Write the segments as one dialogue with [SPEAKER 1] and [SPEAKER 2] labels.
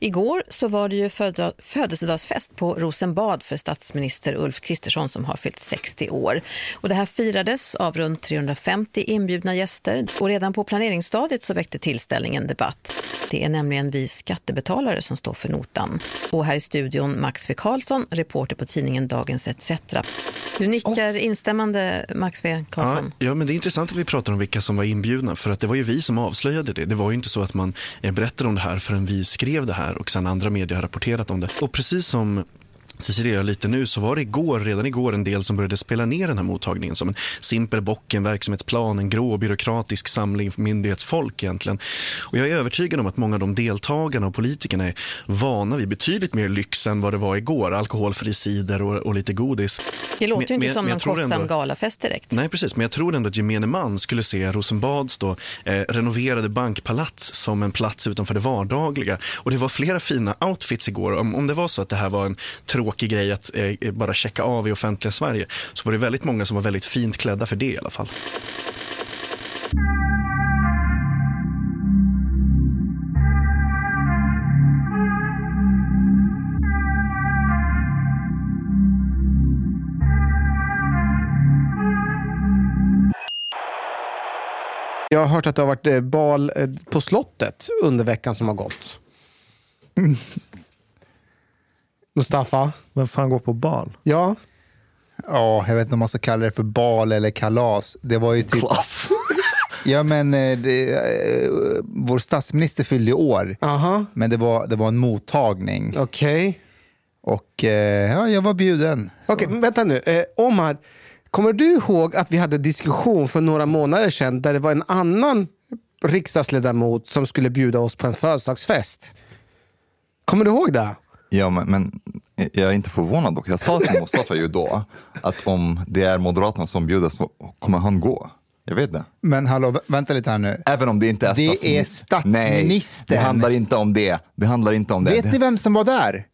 [SPEAKER 1] Igår så var det ju föda- födelsedagsfest på Rosenbad för statsminister Ulf Kristersson som har fyllt 60 år. Och det här firades av runt 350 inbjudna gäster och redan på planeringsstadiet så väckte tillställningen debatt. Det är nämligen vi skattebetalare som står för notan. Och här i studion Max V Karlsson, reporter på tidningen Dagens ETC. Du nickar instämmande Max V
[SPEAKER 2] Ja,
[SPEAKER 1] Karlsson.
[SPEAKER 2] ja, men det är intressant att vi pratar om vilka som var inbjudna för att det var ju vi som avslöjade det. Det var ju inte så att man eh, berättade om det här förrän vi skrev det här och sen andra medier har rapporterat om det. Och precis som Cecilia gör lite nu så var det igår, redan igår en del som började spela ner den här mottagningen som en simpel bock, en verksamhetsplan, en grå byråkratisk samling myndighetsfolk egentligen. Och jag är övertygad om att många av de deltagarna och politikerna är vana vid betydligt mer lyx än vad det var igår. Alkoholfri cider och, och lite godis.
[SPEAKER 1] Det låter ju
[SPEAKER 2] Men-
[SPEAKER 1] inte
[SPEAKER 2] men-
[SPEAKER 1] som
[SPEAKER 2] men jag
[SPEAKER 1] någon
[SPEAKER 2] tror ändå-
[SPEAKER 1] kostsam galafest direkt.
[SPEAKER 2] Nej, precis. Men jag tror ändå att gemene man skulle se Rosenbads då, eh, renoverade bankpalats som en plats utanför det vardagliga. Och det var flera fina outfits igår. Om, om det var så att det här var en tråkig grej att eh, bara checka av i offentliga Sverige så var det väldigt många som var väldigt fint klädda för det i alla fall.
[SPEAKER 3] Jag har hört att det har varit eh, bal eh, på slottet under veckan som har gått. Mustafa?
[SPEAKER 4] Vem fan går på bal?
[SPEAKER 3] Ja?
[SPEAKER 5] Ja, jag vet inte om man ska kalla det för bal eller kalas. Det var ju typ... Ja, men eh, det, eh, vår statsminister fyllde i år,
[SPEAKER 3] Aha,
[SPEAKER 5] men det var, det var en mottagning.
[SPEAKER 3] okej.
[SPEAKER 5] Och eh, ja, jag var bjuden.
[SPEAKER 3] Okej, men vänta nu. Eh, Omar, kommer du ihåg att vi hade diskussion för några månader sedan där det var en annan riksdagsledamot som skulle bjuda oss på en födelsedagsfest? Kommer du ihåg det?
[SPEAKER 6] Ja, men, men jag är inte förvånad dock. Jag sa till Mustafa ju då att om det är Moderaterna som bjuder så kommer han gå. Jag vet det.
[SPEAKER 5] Men hallå, vä- vänta lite här nu.
[SPEAKER 6] Även om det inte är
[SPEAKER 5] Det
[SPEAKER 6] statsministern.
[SPEAKER 5] är statsministern.
[SPEAKER 6] Nej, det handlar inte om det. Det handlar inte om det.
[SPEAKER 5] Vet ni vem som var där?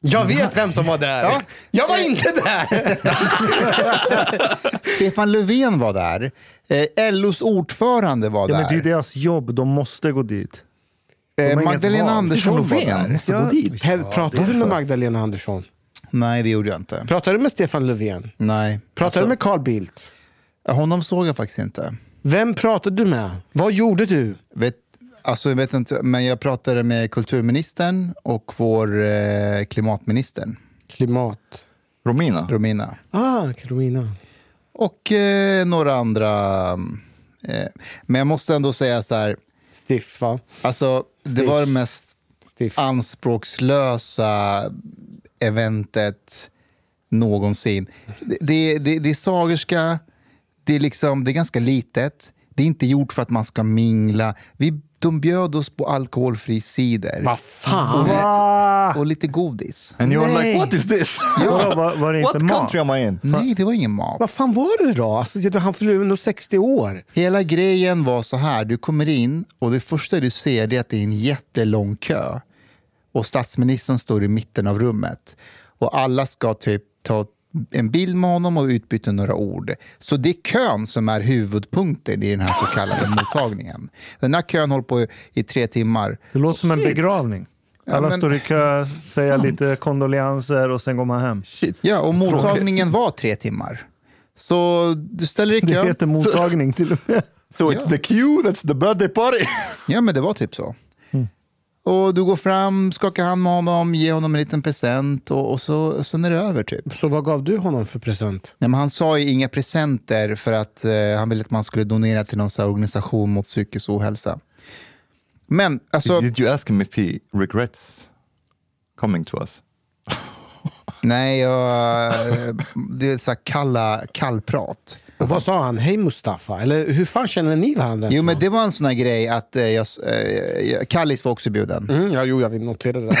[SPEAKER 3] Jag vet vem som var där. Jag var inte där!
[SPEAKER 5] Stefan Löfven var där. Eh, LOs ordförande var
[SPEAKER 4] Ja, men det är ju
[SPEAKER 5] där.
[SPEAKER 4] deras jobb, de måste gå dit. har
[SPEAKER 5] eh,
[SPEAKER 4] inget
[SPEAKER 5] Magdalena
[SPEAKER 4] val.
[SPEAKER 5] Andersson var
[SPEAKER 6] Stefan Löfven
[SPEAKER 5] där.
[SPEAKER 6] måste gå
[SPEAKER 4] Ja.
[SPEAKER 6] dit.
[SPEAKER 3] Hel- Pratade du med Magdalena Andersson?
[SPEAKER 5] Nej, det gjorde jag inte. Alltså-
[SPEAKER 3] Pratade du med Stefan Löfven?
[SPEAKER 5] Nej.
[SPEAKER 3] Pratade du med Carl Bildt?
[SPEAKER 5] Honom såg jag faktiskt inte.
[SPEAKER 3] Vem pratade du med? Vad gjorde du?
[SPEAKER 5] Vet, alltså, jag vet inte, men jag pratade med kulturministern och vår eh, klimatminister,
[SPEAKER 3] Klimat.
[SPEAKER 6] Romina.
[SPEAKER 5] Romina.
[SPEAKER 3] Ah, Carolina.
[SPEAKER 5] Och eh, några andra. Eh, men jag måste ändå säga så här,
[SPEAKER 3] Stiffa.
[SPEAKER 5] alltså, det var det mest
[SPEAKER 3] aktiv.
[SPEAKER 5] anspråkslösa eventet någonsin. Det, det, det, det är sagerska, det är, liksom, det är ganska litet, det är inte gjort för att man ska mingla. Vi, de bjöd oss på alkoholfri cider
[SPEAKER 3] Vad fan!
[SPEAKER 5] och,
[SPEAKER 4] Ah!
[SPEAKER 5] och lite godis.
[SPEAKER 6] And you're like, what is this?
[SPEAKER 4] Vadå, var, var det inte
[SPEAKER 6] What
[SPEAKER 4] mat?
[SPEAKER 6] country am I in?
[SPEAKER 5] Nej, det var ingen mat.
[SPEAKER 3] Vad fan var det då? Alltså, jag tror han fyller nog 60 år.
[SPEAKER 5] Hela grejen var så här, du kommer in och det första du ser det är att det är en jättelång kö. Och statsministern står i mitten av rummet. Och alla ska typ ta en bild med honom och utbyta några ord. Så det är kön som är huvudpunkten i den här så kallade mottagningen. Den här kön håller på i tre timmar.
[SPEAKER 4] Det låter som en begravning. Alla
[SPEAKER 5] men-
[SPEAKER 4] står i kö, säger lite kondolenser och sen går man hem.
[SPEAKER 5] Ja, och mottagningen var tre timmar. Så du ställer i
[SPEAKER 4] Det
[SPEAKER 5] kö.
[SPEAKER 4] heter mottagning till och med.
[SPEAKER 6] So it's the queue, that's the birthday party.
[SPEAKER 5] Ja, men det var typ så. Och du går fram, skakar hand med honom, ger honom en liten present och, och så, och sen är det över typ.
[SPEAKER 3] Så vad gav du honom för present?
[SPEAKER 5] Nej, men han sa ju inga presenter för att eh, han ville att man skulle donera till någon så här organisation mot psykisk ohälsa. Men alltså,
[SPEAKER 6] Did you ask him if he regrets coming to us?
[SPEAKER 5] nej, jag, eh, det är så här kalla, kallprat.
[SPEAKER 3] Och vad sa han? Hej Mustafa? Eller hur fan känner ni varandra?
[SPEAKER 5] Jo, men det var en sån här grej att eh, jag, s- eh, jag- Kallis var också bjuden.
[SPEAKER 3] Mm, ja, jo, jag vill notera det. där.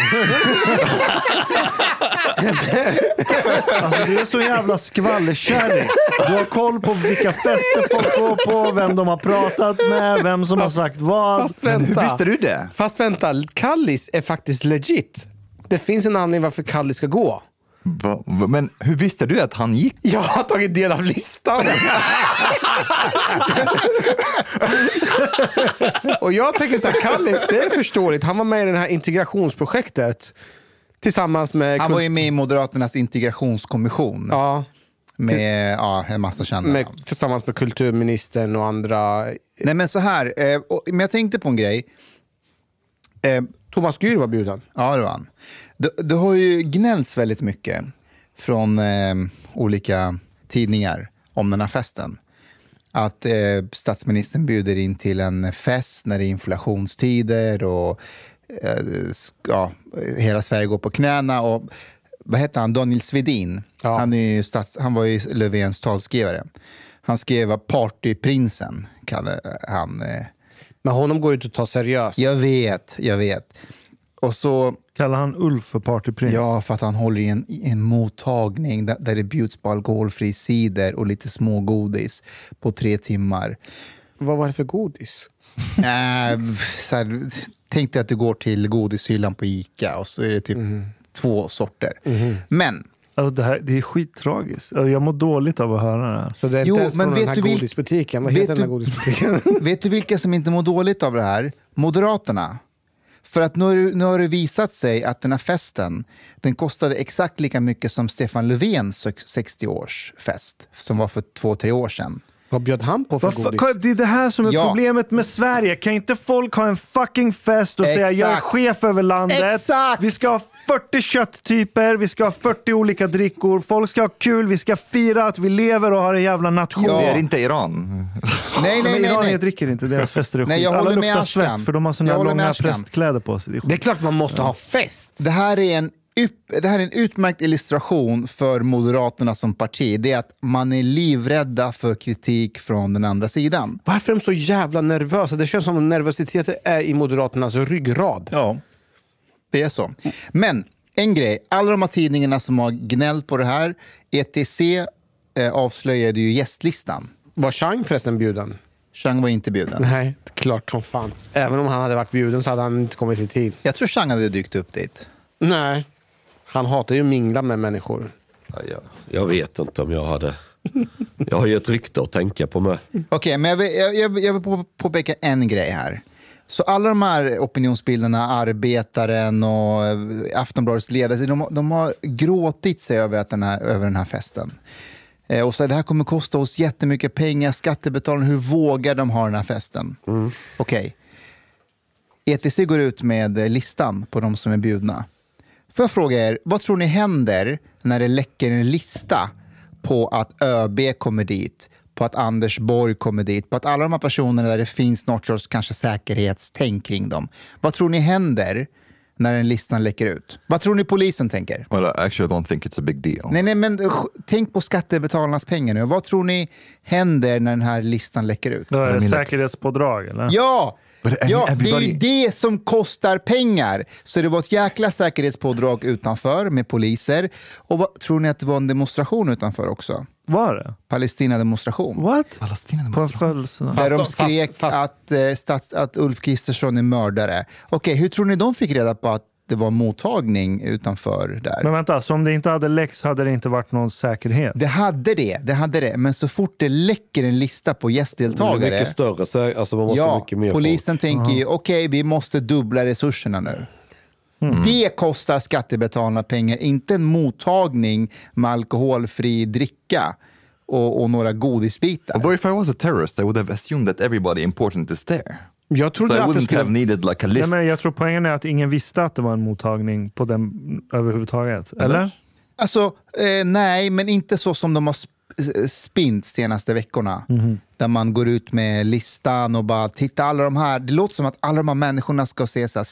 [SPEAKER 4] Alltså, du är så jävla skvallerkärring. Du har koll på vilka fester folk går på, vem de har pratat med, vem som har sagt vad.
[SPEAKER 3] Fast vänta.
[SPEAKER 6] du det?
[SPEAKER 3] Fast vänta, Kallis är faktiskt legit. Det finns en anledning varför Kallis ska gå.
[SPEAKER 6] Va, va, men hur visste du att han gick?
[SPEAKER 3] Jag har tagit del av listan. och jag tänker så här, Kallis, det är förståeligt. Han var med i det här integrationsprojektet tillsammans med,
[SPEAKER 5] Han
[SPEAKER 3] kul-
[SPEAKER 5] var ju med i Moderaternas integrationskommission
[SPEAKER 3] ja,
[SPEAKER 5] med ja, en massa kända
[SPEAKER 3] med,
[SPEAKER 5] namn.
[SPEAKER 3] tillsammans med kulturministern och andra.
[SPEAKER 5] Nej, men så här. Eh, och, men jag tänkte på en grej. Eh,
[SPEAKER 3] Thomas Gür var bjuden.
[SPEAKER 5] ja, det var han. Det, det har ju gnällts väldigt mycket från eh, olika tidningar om den här festen. Att eh, statsministern bjuder in till en fest när det är inflationstider och eh, sk- ja, hela Sverige går på knäna. Och, vad heter han? Daniel Svedin.
[SPEAKER 3] Ja.
[SPEAKER 5] Han, är ju stats, han var ju Löfvens talskrivare. Han skrev Partyprinsen, kallar han. Eh,
[SPEAKER 3] Men honom går ju inte att ta seriöst.
[SPEAKER 5] jag vet, jag vet. Och så,
[SPEAKER 4] Kallar han Ulf för partyprins?
[SPEAKER 5] ja, för att han håller i en, i en mottagning där, där det bjuds på alkoholfri cider och lite smågodis på tre timmar.
[SPEAKER 3] Vad var det för godis?
[SPEAKER 5] äh, så här, tänk dig att du går till godishyllan på Ica och så är det typ
[SPEAKER 3] Mm.
[SPEAKER 5] två sorter. Mm-hmm. Men,
[SPEAKER 4] Alltså, det, här, det är skittragiskt. Alltså, Jag mår dåligt av att höra det här.
[SPEAKER 3] Så det är
[SPEAKER 5] Jo,
[SPEAKER 3] inte ens
[SPEAKER 5] men
[SPEAKER 3] från
[SPEAKER 5] vet
[SPEAKER 3] den här
[SPEAKER 5] du vil-
[SPEAKER 3] godisbutiken. Vad
[SPEAKER 5] vet
[SPEAKER 3] heter den här
[SPEAKER 5] du-
[SPEAKER 3] godisbutiken?
[SPEAKER 5] vet du vilka som inte mår dåligt av det här? Moderaterna. För att nu, har det- nu har det visat sig att den här festen den kostade exakt lika mycket som Stefan Löfvens 60-årsfest som var för två, tre år sedan.
[SPEAKER 3] Vad bjöd han på för
[SPEAKER 4] Varför,
[SPEAKER 3] godis?
[SPEAKER 4] Kolla, det är det här som är
[SPEAKER 5] Ja.
[SPEAKER 4] problemet med Sverige. Kan inte folk ha en fucking fest och säga jag är
[SPEAKER 5] Exakt.
[SPEAKER 4] chef över landet.
[SPEAKER 5] Exakt.
[SPEAKER 4] Vi ska ha 40 kötttyper, vi ska ha 40 olika drickor, folk ska ha kul, vi ska fira att vi lever och har en jävla nation.
[SPEAKER 5] Ja.
[SPEAKER 6] Det är inte Iran.
[SPEAKER 5] Nej, nej,
[SPEAKER 4] Men
[SPEAKER 5] nej.
[SPEAKER 4] iranier
[SPEAKER 5] nej.
[SPEAKER 4] dricker inte, deras fester är
[SPEAKER 5] Nej,
[SPEAKER 4] skit.
[SPEAKER 5] jag
[SPEAKER 4] Alla
[SPEAKER 5] håller med
[SPEAKER 4] luktar
[SPEAKER 5] Ashkan.
[SPEAKER 4] svett för de har
[SPEAKER 5] Jag
[SPEAKER 4] sådana
[SPEAKER 5] håller med
[SPEAKER 4] långa
[SPEAKER 5] Ashkan.
[SPEAKER 4] prästkläder på sig. Det är skit.
[SPEAKER 3] Det är klart man måste ha fest.
[SPEAKER 5] Det här, är en upp, det här är en utmärkt illustration för Moderaterna som parti. Det är att man är livrädda för kritik från den andra sidan.
[SPEAKER 3] Varför är de så jävla nervösa? Det känns som om nervositeten är i Moderaternas ryggrad.
[SPEAKER 5] Ja. Det är så. Men en grej, alla de här tidningarna som har gnällt på det här, ETC eh, avslöjade ju gästlistan.
[SPEAKER 3] Var Chang förresten bjuden?
[SPEAKER 5] Chang var inte bjuden.
[SPEAKER 3] Nej, klart som fan. Även om han hade varit bjuden så hade han inte kommit i tid.
[SPEAKER 5] Jag tror Chang hade dykt upp dit.
[SPEAKER 3] Nej. Han hatar ju att mingla med människor.
[SPEAKER 7] Ja, jag, jag vet inte om jag hade... Jag har ju ett rykte att tänka på med.
[SPEAKER 5] Okej, men jag vill, jag, jag, jag vill på, påpeka en grej här. Så alla de här opinionsbilderna, Arbetaren och eh, Aftonbladets ledare, de, de har gråtit sig över, att den, här, över den här festen. Eh, och så här, det här kommer kosta oss jättemycket pengar, skattebetalarna, hur vågar de ha den här festen? Okej. ETC går ut med eh, listan på de som är bjudna. Får jag fråga er, vad tror ni händer när det läcker en lista på att ÖB kommer dit, på att Anders Borg kommer dit, på att alla de här personerna där det finns något sorts kanske säkerhetstänk kring dem. Vad tror ni händer när den listan läcker ut. Vad tror ni polisen tänker?
[SPEAKER 6] Well, I actually don't think it's a big deal.
[SPEAKER 5] Nej, nej, men eh, tänk på skattebetalarnas pengar nu. Vad tror ni händer när den här listan läcker ut?
[SPEAKER 4] Då är det
[SPEAKER 6] Men-
[SPEAKER 4] säkerhetspådrag eller?
[SPEAKER 5] Ja!
[SPEAKER 6] But
[SPEAKER 5] ja det är ju
[SPEAKER 6] everybody-
[SPEAKER 5] det som kostar pengar. Så det var ett jäkla säkerhetspådrag utanför med poliser. Och vad, tror ni att det var en demonstration utanför också?
[SPEAKER 4] Var det?
[SPEAKER 5] Palestinademonstration.
[SPEAKER 4] What?
[SPEAKER 6] Palestina
[SPEAKER 4] På en födelsedag?
[SPEAKER 5] Där de
[SPEAKER 3] Fast-
[SPEAKER 5] skrek
[SPEAKER 3] fast- fast-
[SPEAKER 5] Att, eh, stats, att Ulf Kristersson är mördare. Okej, hur tror ni de fick reda på att det var mottagning utanför där?
[SPEAKER 4] Men vänta, så om det inte hade läcks hade det inte varit någon säkerhet?
[SPEAKER 5] Det hade det, det hade det. Men så fort det läcker en lista på
[SPEAKER 7] Det är
[SPEAKER 5] gästdeltagare.
[SPEAKER 7] mycket större, sä- alltså man måste ha
[SPEAKER 5] Ja,
[SPEAKER 7] mycket mer
[SPEAKER 5] polisen tänker ju okej, vi måste dubbla resurserna nu. Det kostar skattebetalarna pengar, inte en mottagning med alkoholfri dricka och, och några godisbitar.
[SPEAKER 6] Although if I was a terrorist I would have assumed that everybody important is there.
[SPEAKER 3] Jag
[SPEAKER 6] So
[SPEAKER 3] trodde
[SPEAKER 6] I
[SPEAKER 3] att det
[SPEAKER 6] wouldn't
[SPEAKER 3] skulle...
[SPEAKER 6] have needed like a
[SPEAKER 4] Nej,
[SPEAKER 6] list.
[SPEAKER 4] men jag tror poängen är att ingen visste att det var en mottagning på den överhuvudtaget. Eller?
[SPEAKER 5] Alltså, eh, nej, men inte så som de har sp- s- spint senaste veckorna. Där man går ut med listan och bara titta alla de här. Det låter som att alla de här människorna ska se så här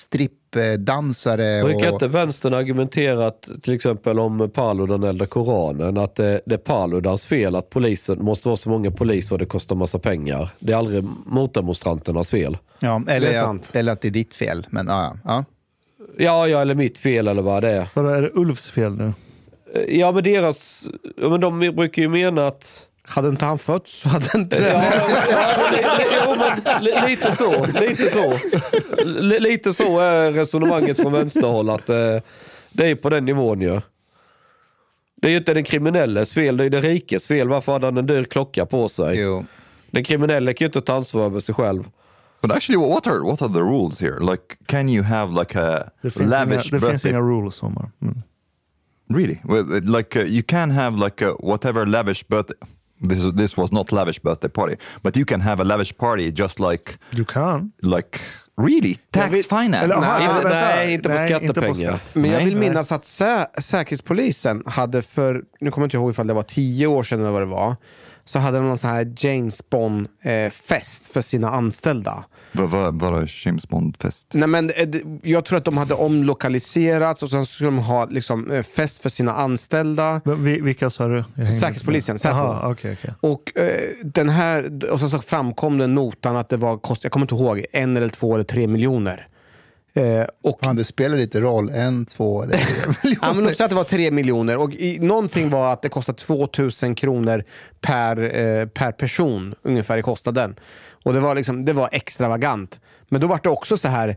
[SPEAKER 5] strippdansare.
[SPEAKER 7] folk. Brukar
[SPEAKER 5] Och...
[SPEAKER 7] inte vänstern argumentera att, till exempel om Paludan eldar Koranen, att det, det är Paludans fel att polisen måste vara så många poliser och det kostar massa pengar. Det är aldrig motdemonstranternas fel.
[SPEAKER 5] Ja,
[SPEAKER 3] Det är
[SPEAKER 5] eller,
[SPEAKER 3] sant.
[SPEAKER 5] att, eller att det är ditt fel. Men, ja, ja, ja.
[SPEAKER 7] Ja, ja, eller mitt fel eller vad det är.
[SPEAKER 4] Vadå, är det Ulfs fel nu?
[SPEAKER 7] Ja, men deras... Ja, men de brukar ju mena att...
[SPEAKER 3] Hade inte han fötts så hade inte
[SPEAKER 7] Ja,
[SPEAKER 3] det...
[SPEAKER 7] ja, li- li- jo, men li- lite så. Lite så Li- Lite så är resonemanget från vänsterhåll. Att, eh, det är ju på den nivån ju. Det är ju inte den kriminelles fel, det är ju den rikes fel. Varför hade han en dyr klocka på sig?
[SPEAKER 5] Jo.
[SPEAKER 7] Den kriminelle kan ju inte ta ansvar över sig själv.
[SPEAKER 6] But actually what are, what are the rules here? Like can you have like a
[SPEAKER 4] Det finns, inga,
[SPEAKER 6] lavish
[SPEAKER 4] det finns
[SPEAKER 6] birthday
[SPEAKER 4] inga rules, Omar. Mm.
[SPEAKER 6] Really? Well, Like uh, you can have like a whatever lavish birthday. This is, this was not lavish birthday party, but you can have a lavish party just like
[SPEAKER 4] Du kan.
[SPEAKER 6] like really tax
[SPEAKER 3] vi-
[SPEAKER 6] finance.
[SPEAKER 4] Eller,
[SPEAKER 3] Nej,
[SPEAKER 4] ah,
[SPEAKER 7] inte-
[SPEAKER 4] vänta.
[SPEAKER 7] nej, inte på skattepengar.
[SPEAKER 3] Men jag
[SPEAKER 6] Nej.
[SPEAKER 3] vill minnas att sä Säkerhetspolisen hade för, nu kommer jag inte ihåg ifall det var tio år sedan eller vad det var, så hade de någon sån här James Bond-fest för sina anställda.
[SPEAKER 6] Vad- vad- Vadå James Bond-fest?
[SPEAKER 3] Nej, men, eh, d- jag tror att de hade omlokaliserats och sen skulle de ha liksom, eh, fest för sina anställda.
[SPEAKER 4] Men vi- Vilka sa du? Jag hängde inte
[SPEAKER 3] Säkerhetspolisen,
[SPEAKER 4] med.
[SPEAKER 3] Säpo.
[SPEAKER 4] Jaha, okej, okej.
[SPEAKER 3] Och, eh, den här, och sen så framkom den notan att det var kost, jag kommer inte ihåg, en eller två eller tre miljoner. Eh, och
[SPEAKER 5] Fan, det spelar lite roll. En, två eller tre
[SPEAKER 3] Ja, men
[SPEAKER 5] miljoner.
[SPEAKER 3] uppsatt att det var tre miljoner. Och i, någonting var att det kostade 2000 kronor per, eh, per person ungefär i kostnaden. Och det var, liksom, det var extravagant. Men då var det också så här.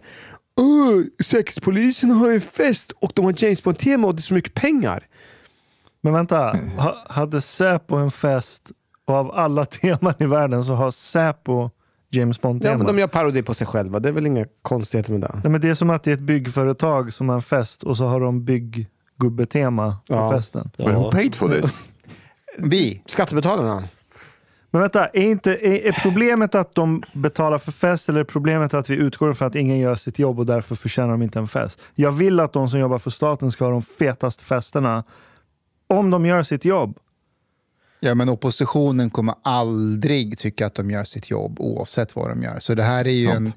[SPEAKER 3] "Åh, Säkerhetspolisen har en fest och de har James Bond-tema och det är så mycket pengar.
[SPEAKER 4] Men vänta, ha, hade Säpo en fest och av alla teman i världen så har Säpo James
[SPEAKER 3] Ja,
[SPEAKER 4] Bond-tema?
[SPEAKER 3] men de gör parodi på sig själva. Det är väl inga konstigheter med det.
[SPEAKER 4] Nej, men det är som att det är ett byggföretag som har en fest och så har de bygggubbetema på
[SPEAKER 3] Ja.
[SPEAKER 4] festen.
[SPEAKER 6] But who paid for this?
[SPEAKER 5] Vi.
[SPEAKER 3] Skattebetalarna.
[SPEAKER 4] Men vänta, är, inte, är, är problemet att de betalar för fest eller är problemet att vi utgår från att ingen gör sitt jobb och därför förtjänar de inte en fest? Jag vill att de som jobbar för staten ska ha de fetaste festerna om de gör sitt jobb.
[SPEAKER 5] Ja, men oppositionen kommer aldrig tycka att de gör sitt jobb oavsett vad de gör. Så det här är ju en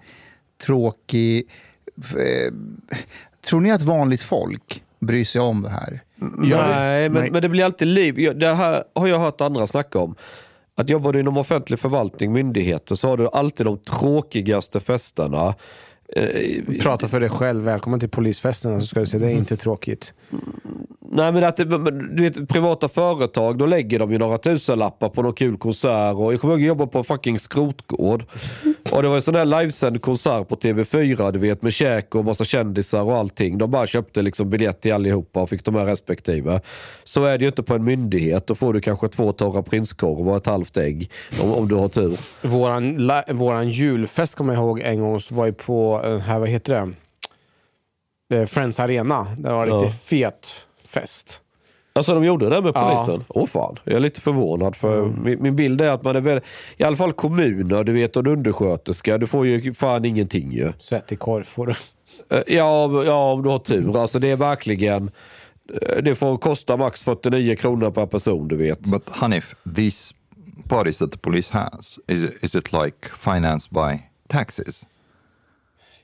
[SPEAKER 5] tråkig... Eh, tror ni att vanligt folk bryr sig om det här?
[SPEAKER 7] Mm, Nej, men,
[SPEAKER 4] nej.
[SPEAKER 7] men det blir alltid liv. Jag- Det här har jag hört andra snacka om. Att jobbar du inom offentlig förvaltning, myndigheter, så har du alltid de tråkigaste festerna. Eh,
[SPEAKER 3] Prata för dig själv. Välkommen till polisfesterna så ska du se. Det är inte tråkigt.
[SPEAKER 7] Nej, men att det, men du vet, privata företag, då lägger de ju några tusenlappar på någon kul konsert. Och jag kommer ihåg att jobba på en fucking skrotgård. Och det var en sån här livesänd konsert på TV4, du vet, med käk och massa kändisar och allting. De bara köpte liksom biljett till allihopa och fick de här respektive. Så är det ju inte på en myndighet. Då får du kanske två torra prinskorvar och ett halvt ägg, om, om du har tur.
[SPEAKER 3] Våran, la- våran julfest kommer jag ihåg en gång så var ju på den här, vad heter det? Eh, Friends Arena. Där var det
[SPEAKER 7] Ja.
[SPEAKER 3] riktigt fet fest.
[SPEAKER 7] Alltså de gjorde det med
[SPEAKER 3] Ja.
[SPEAKER 7] polisen? Åh fan, jag är lite förvånad. För min, min bild är att man är väl, i alla fall kommuner, du vet, och en undersköterska, du får ju fan ingenting ju.
[SPEAKER 3] Svettig korv får du.
[SPEAKER 7] Eh, Ja, om- ja om du har tur. Alltså det är verkligen, eh, det får kosta max 49 kronor per person, du vet.
[SPEAKER 6] But Hanif, these parties that the police has, is, is it like financed by taxes?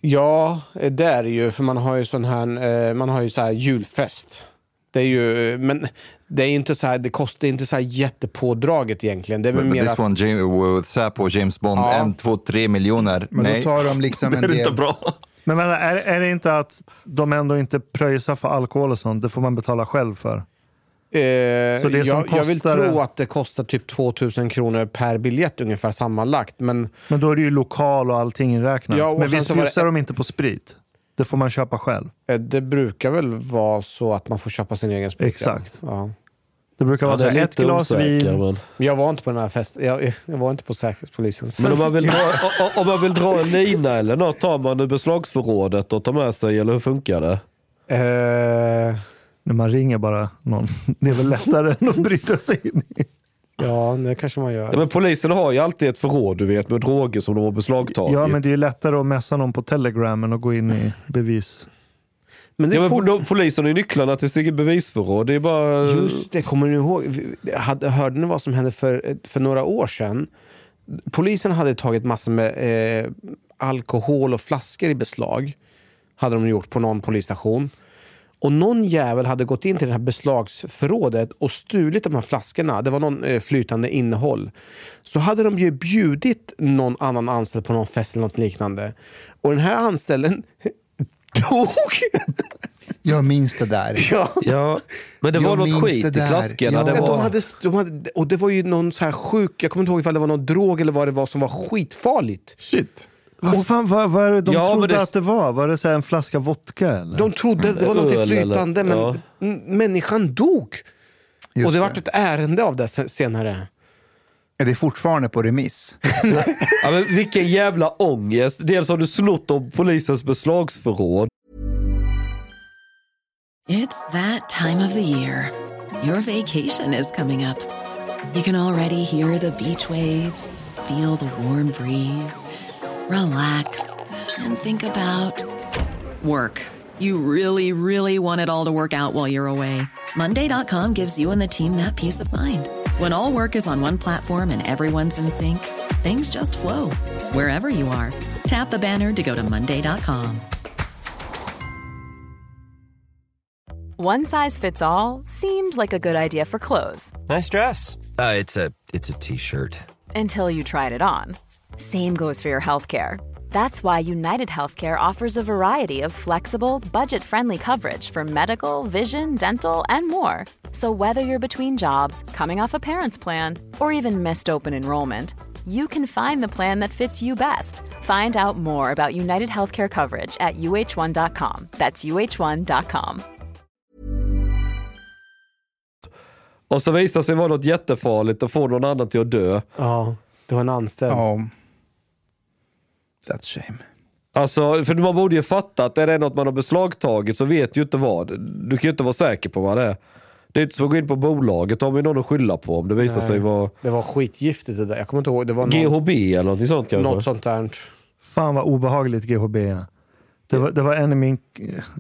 [SPEAKER 3] Ja, eh, det är det ju. För man har ju sån här, eh, man har ju så här julfest. Det är ju, eh, men det är inte så här, det kostar det är inte så här jättepådraget egentligen. Det är väl
[SPEAKER 6] But
[SPEAKER 3] mer
[SPEAKER 6] this
[SPEAKER 3] att-
[SPEAKER 6] one, James, with Säpo, James Bond,
[SPEAKER 3] Ja.
[SPEAKER 6] en, två, tre miljoner.
[SPEAKER 5] Men
[SPEAKER 6] Nej,
[SPEAKER 5] då tar de liksom en
[SPEAKER 6] det är
[SPEAKER 5] del...
[SPEAKER 6] inte bra.
[SPEAKER 4] Men vänta, är, är det inte att de ändå inte pröjsar för alkohol och sånt? Det får man betala själv för.
[SPEAKER 3] Eh,
[SPEAKER 4] Så det som
[SPEAKER 3] jag, jag vill
[SPEAKER 4] kostar-
[SPEAKER 3] tro att det kostar typ 2000 kronor per biljett ungefär sammanlagt. Men
[SPEAKER 4] Men då är det ju lokal och allting inräknat.
[SPEAKER 3] Ja, och
[SPEAKER 4] Men
[SPEAKER 3] sen
[SPEAKER 4] visst
[SPEAKER 3] så var det-
[SPEAKER 4] bjussar de inte på sprit? Det får man köpa själv.
[SPEAKER 3] eh, det brukar väl vara så att man får köpa sin egen sprit.
[SPEAKER 4] Exakt.
[SPEAKER 3] Ja.
[SPEAKER 4] Det brukar vara
[SPEAKER 7] Ja, det
[SPEAKER 4] så
[SPEAKER 7] Alltså, är
[SPEAKER 4] här, ett
[SPEAKER 7] lite
[SPEAKER 4] glas
[SPEAKER 7] osäker,
[SPEAKER 4] vin.
[SPEAKER 7] men-
[SPEAKER 3] Men jag var inte på den här festen. Jag, jag var inte på Säkerhetspolisens.
[SPEAKER 7] Men om man, vill dra, o- o- om man vill dra en lina eller något, tar man ur beslagsförrådet och tar med sig, eller hur funkar det?
[SPEAKER 3] Eh,
[SPEAKER 4] När man ringer bara någon. Det är väl lättare än att bryta sig in i.
[SPEAKER 3] ja, det kanske man gör.
[SPEAKER 7] Ja, men polisen har ju alltid ett förråd, du vet, med droger som de har beslagtagit.
[SPEAKER 4] Ja, men det är ju lättare att messa någon på telegram än att gå in i bevis.
[SPEAKER 3] Men det är
[SPEAKER 7] Ja, men
[SPEAKER 3] fort-
[SPEAKER 7] de, polisen har ju nycklarna till sitt eget bevisförråd. Det är bara...
[SPEAKER 3] Just det, kommer ni ihåg? Vi- Hade, hörde ni vad som hände för, för några år sedan? Polisen hade tagit massor med eh, alkohol och flaskor i beslag. Hade de gjort på någon polisstation. Och någon jävel hade gått in till det här beslagsförrådet och stulit de här flaskorna. Det var någon eh, flytande innehåll. Så hade de ju bjudit någon annan anställd på någon fest eller något liknande. Och den här anställden dog!
[SPEAKER 5] Jag minns det där.
[SPEAKER 3] ja.
[SPEAKER 7] Ja, men det
[SPEAKER 5] Jag
[SPEAKER 7] var något
[SPEAKER 5] minns
[SPEAKER 7] skit
[SPEAKER 5] det
[SPEAKER 7] i
[SPEAKER 5] där.
[SPEAKER 7] flaskorna.
[SPEAKER 5] Ja.
[SPEAKER 7] det
[SPEAKER 5] Ja,
[SPEAKER 7] var...
[SPEAKER 3] Ja, de hade, de hade, och det var ju någon så här sjuk, jag kommer inte ihåg ifall det var någon drog eller vad det var som var skitfarligt.
[SPEAKER 6] Shit.
[SPEAKER 4] Vad fan, vad, vad är det de
[SPEAKER 7] Ja, men
[SPEAKER 4] trodde
[SPEAKER 7] det-
[SPEAKER 4] att det var? Var det så här en flaska vodka eller?
[SPEAKER 3] De trodde att det var
[SPEAKER 7] Öl
[SPEAKER 3] något
[SPEAKER 7] eller-
[SPEAKER 3] flytande men
[SPEAKER 7] ja.
[SPEAKER 3] m- människan dog.
[SPEAKER 5] Just
[SPEAKER 3] och det
[SPEAKER 5] det.
[SPEAKER 3] vart ett ärende av det se- senare.
[SPEAKER 5] Är det fortfarande på remiss?
[SPEAKER 7] Ja, men vilken jävla ångest. Dels har du snott om polisens beslagsförråd.
[SPEAKER 8] It's that time of the year. Your vacation is coming up. You can already hear the beach waves, feel the warm breeze, relax, and think about work. You really, really want it all to work out while you're away. Monday.com gives you and the team that peace of mind. When all work is on one platform and everyone's in sync, things just flow wherever you are. Tap the banner to go to Monday.com.
[SPEAKER 9] One size fits all seemed like a good idea for clothes
[SPEAKER 10] Nice dress. Uh, it's a it's a t-shirt.
[SPEAKER 9] until you tried it on. Same goes for your healthcare. That's why United Healthcare offers a variety of flexible, budget friendly coverage for medical, vision, dental, and more. So, whether you're between jobs, coming off a parent's plan, or even missed open enrollment, you can find the plan that fits you best. Find out more about United Healthcare coverage at uh1.com. That's uh1.com.
[SPEAKER 7] Och så visar sig vara något jättefarligt och får någon annan till att dö.
[SPEAKER 3] Ja, det var en anställd.
[SPEAKER 5] Ja. That's shame.
[SPEAKER 7] Alltså, för man borde ju fatta att är det något man har beslagtagit så vet du ju inte vad. Du kan ju inte vara säker på vad det är. Det är inte som att gå in på bolaget. Då har man ju någon att skylla på om det visar sig vara
[SPEAKER 3] Det var skitgiftigt det där. Jag kommer inte ihåg. Det var någon,
[SPEAKER 7] GHB eller någonting sånt kanske.
[SPEAKER 3] något sånt där.
[SPEAKER 4] Fan vad obehagligt GHB är. Det var, det var en i min...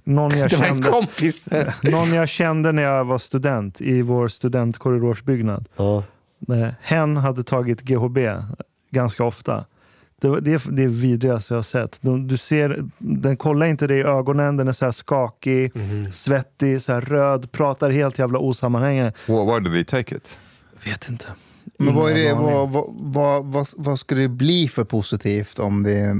[SPEAKER 4] Någon jag
[SPEAKER 3] Det var en
[SPEAKER 4] kände.
[SPEAKER 3] kompis.
[SPEAKER 4] Någon jag kände när jag var student i vår studentkorridorsbyggnad.
[SPEAKER 7] Ja.
[SPEAKER 4] Eh, Hen hade tagit GHB ganska ofta. Det, var- det är det är vidrigaste jag har sett. De, du ser, den kollar inte dig i ögonen, den är så här skakig, svettig, så här röd, pratar helt jävla osammanhängande.
[SPEAKER 6] Why, why do they take it?
[SPEAKER 4] Vet inte.
[SPEAKER 5] Men vad, är det,
[SPEAKER 4] Ingen aning.
[SPEAKER 5] vad, vad, vad, vad, vad skulle det bli för positivt om det är